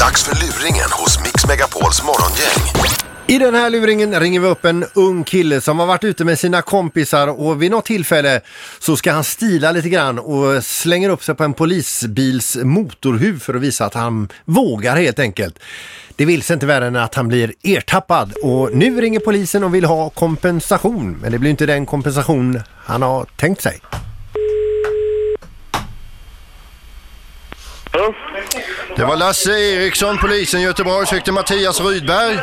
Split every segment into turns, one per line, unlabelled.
Dags för luringen hos Mix Megapols morgongäng.
I den här luringen ringer vi upp en ung kille som har varit ute med sina kompisar och vid något tillfälle så ska han stila lite grann och slänger upp sig på en polisbils motorhuv för att visa att han vågar helt enkelt. Det vill sig inte värre än att han blir ertappad och nu ringer polisen och vill ha kompensation. Men det blir inte den kompensation han har tänkt sig.
Hallå?
Det var Lasse Eriksson, polisen Göteborg, sökte Mattias Rydberg.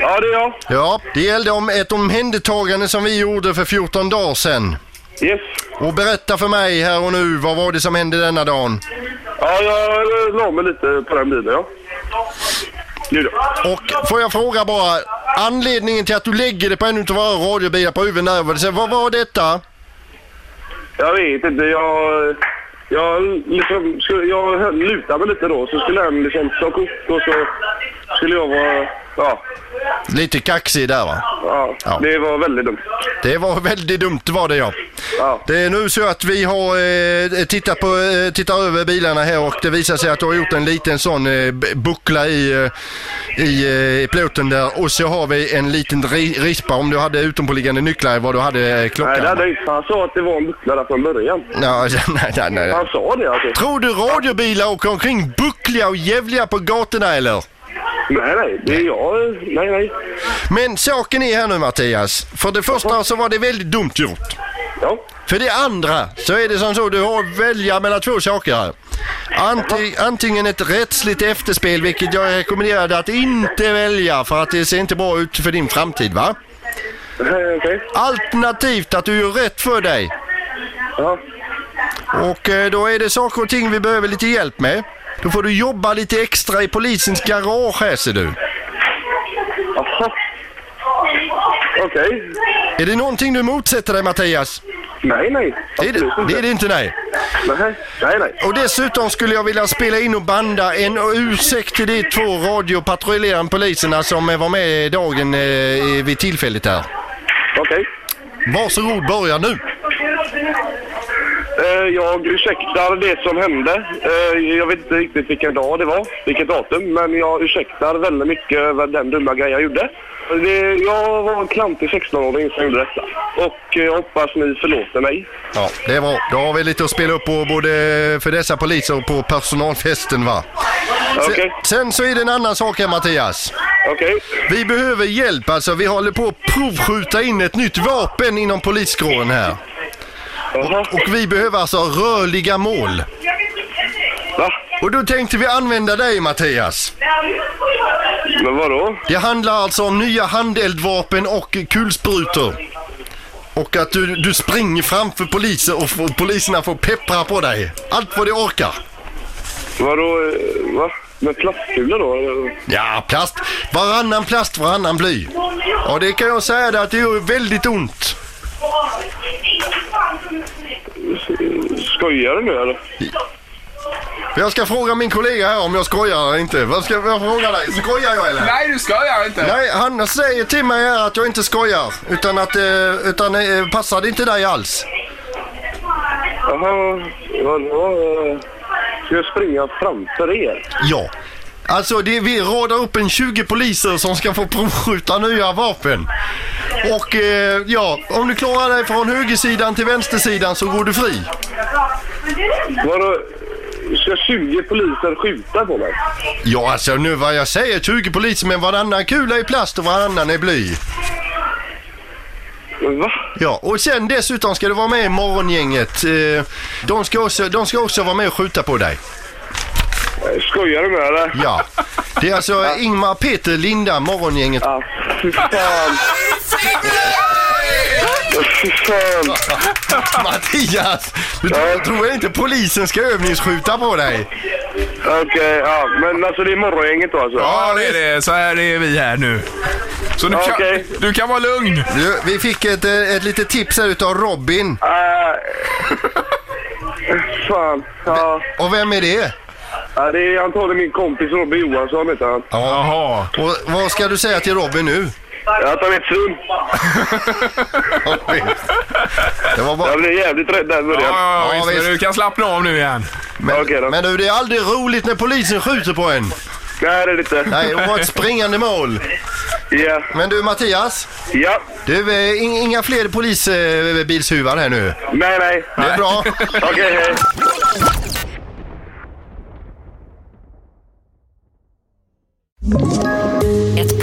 Ja, det är jag.
Ja, det gällde om ett omhändertagande som vi gjorde för 14 dagar sedan.
Yes.
Och berätta för mig här och nu, vad var det som hände denna dagen?
Ja, jag eh, la mig lite på den bilen, ja. Nu då.
Och får jag fråga bara, anledningen till att du lägger det på en utav våra radiobilar på huvudnärvarelse, vad var detta?
Jag vet inte, jag... eh, Jag, liksom, skulle- jag höll- lutade mig lite då, så skulle han liksom ta kort och så skulle jag vara... Ja,
Lite kaxig där va?
ja,
Ja.
det var väldigt dumt.
Det var väldigt dumt var det ja.
Ja,
Det är nu så att vi har eh, tittat, på, eh, tittat över bilarna här och det visar sig att du har gjort en liten sån eh, b- buckla i, eh, i eh, plåten där och så har vi en liten ri- rispa om du hade utompåliggande nycklar vad du hade eh, klockan.
nej, det hade jag inte. Han sa att det var en buckla där från början.
Ja, nej, nej, nej.
Han sa det alltså.
Tror du radiobilar åker omkring buckliga och jävliga på gatorna eller?
Nej, nej, det är jag. eh, Nej, nej.
Men saken är här nu Mattias. För det första så var det väldigt dumt gjort.
Ja,
För det andra så är det som så du har att välja mellan två saker här. Anti, antingen ett rättsligt efterspel vilket jag rekommenderar dig att inte välja för att det ser inte bra ut för din framtid va?
Eh, okej.
Alternativt att du gör rätt för dig.
Ja,
Och eh, då är det saker och ting vi behöver lite hjälp med. Då får du jobba lite extra i polisens garage här ser du.
jaha. Okej.
Är det någonting du motsätter dig Mattias?
Nej, nej.
Det är det,
Absolut
det, är det inte nej.
Nej, nej, nej.
Och dessutom skulle jag vilja spela in och banda en ursäkt till de två radiopatrullerande poliserna som eh, var med dagen eh, vid tillfället här.
Okej.
Varsågod, börja nu.
Eh, jag ursäktar det som hände. Eh, jag vet inte riktigt vilken dag det var, vilket datum, men jag ursäktar väldigt mycket över den dumma grejen jag gjorde. Det, jag var en klantig 16-åring som gjorde detta. Och eh, jag hoppas ni förlåter mig.
Ja, det är bra. Då har vi lite att spela upp på både för dessa poliser och på personalfesten va. Se-
Okej,
Sen så är det en annan sak här Mattias.
okej.
Vi behöver hjälp alltså. Vi håller på att provskjuta in ett nytt vapen inom poliskåren här.
Jaha.
Och vi behöver alltså rörliga mål.
Va?
Och då tänkte vi använda dig Mattias.
Men vadå?
Det handlar alltså om nya handeldvapen och kulsprutor. Och att du, du springer framför poliser och får, poliserna får peppra på dig. Allt vad de orkar.
Vadå? eh, Va? Med plastkulor då? Eh, eller?
Ja, plast. Varannan plast, varannan bly. Och det kan jag säga dig att det gör väldigt ont.
eh, Skojar du nu eller?
Jag ska fråga min kollega här om jag skojar eller inte. Vad ska jag fråga dig? Skojar jag eller?
Nej, du skojar inte.
Nej, han säger till mig här att jag inte skojar. Utan att, eh, utan eh, passar det inte dig alls?
Jaha, vadå? eh, Ska jag springa framför er?
Ja. Alltså det, vi radar upp en 20 poliser som ska få provskjuta nya vapen. Och eh, ja, om du klarar dig från högersidan till vänstersidan så går du fri.
Vadå? Ska 20 poliser skjuta på mig?
Ja alltså nu vad jag säger 20 poliser men varannan kula är plast och varannan är bly.
Va?
Ja och sen dessutom ska du vara med i morgongänget. Eh, de, ska också, de ska också vara med och skjuta på dig.
Skojar du med eller?
Ja. Det är alltså Ingmar, Peter, Linda, morgongänget.
Ja, fy fan. Ja, Fy fan.
Mattias! Du tror- tror inte polisen ska övningsskjuta på dig?
Okej, ja. Men alltså det är morgongänget då alltså?
Ja, det är det. Så här är vi här nu. Så du, kan,
Okej.
du kan vara lugn.
Du, vi fick ett, eh, ett litet tips här utav Robin.
Äh, Eh, fan. Ja.
Och vem är det?
ja, det är antagligen min kompis Robin Johansson heter han.
Jaha.
Och vad ska du säga till Robin nu?
Att han är ett svin.
Det var bara...
Jag blev jävligt rädd där i
Ja,
början.
ja,
Ja,
visst.
visst.
Men Du kan slappna av nu igen.
Okej då.
Men du, det är aldrig roligt när polisen skjuter på en.
Nej, det är det inte.
Nej, det var ett springande mål.
Ja.
Men du Mattias,
Ja.
du, eh, in- inga fler polisbilshuvar här nu.
Nej, nej.
Det är bra.
Okej, hej.
Ett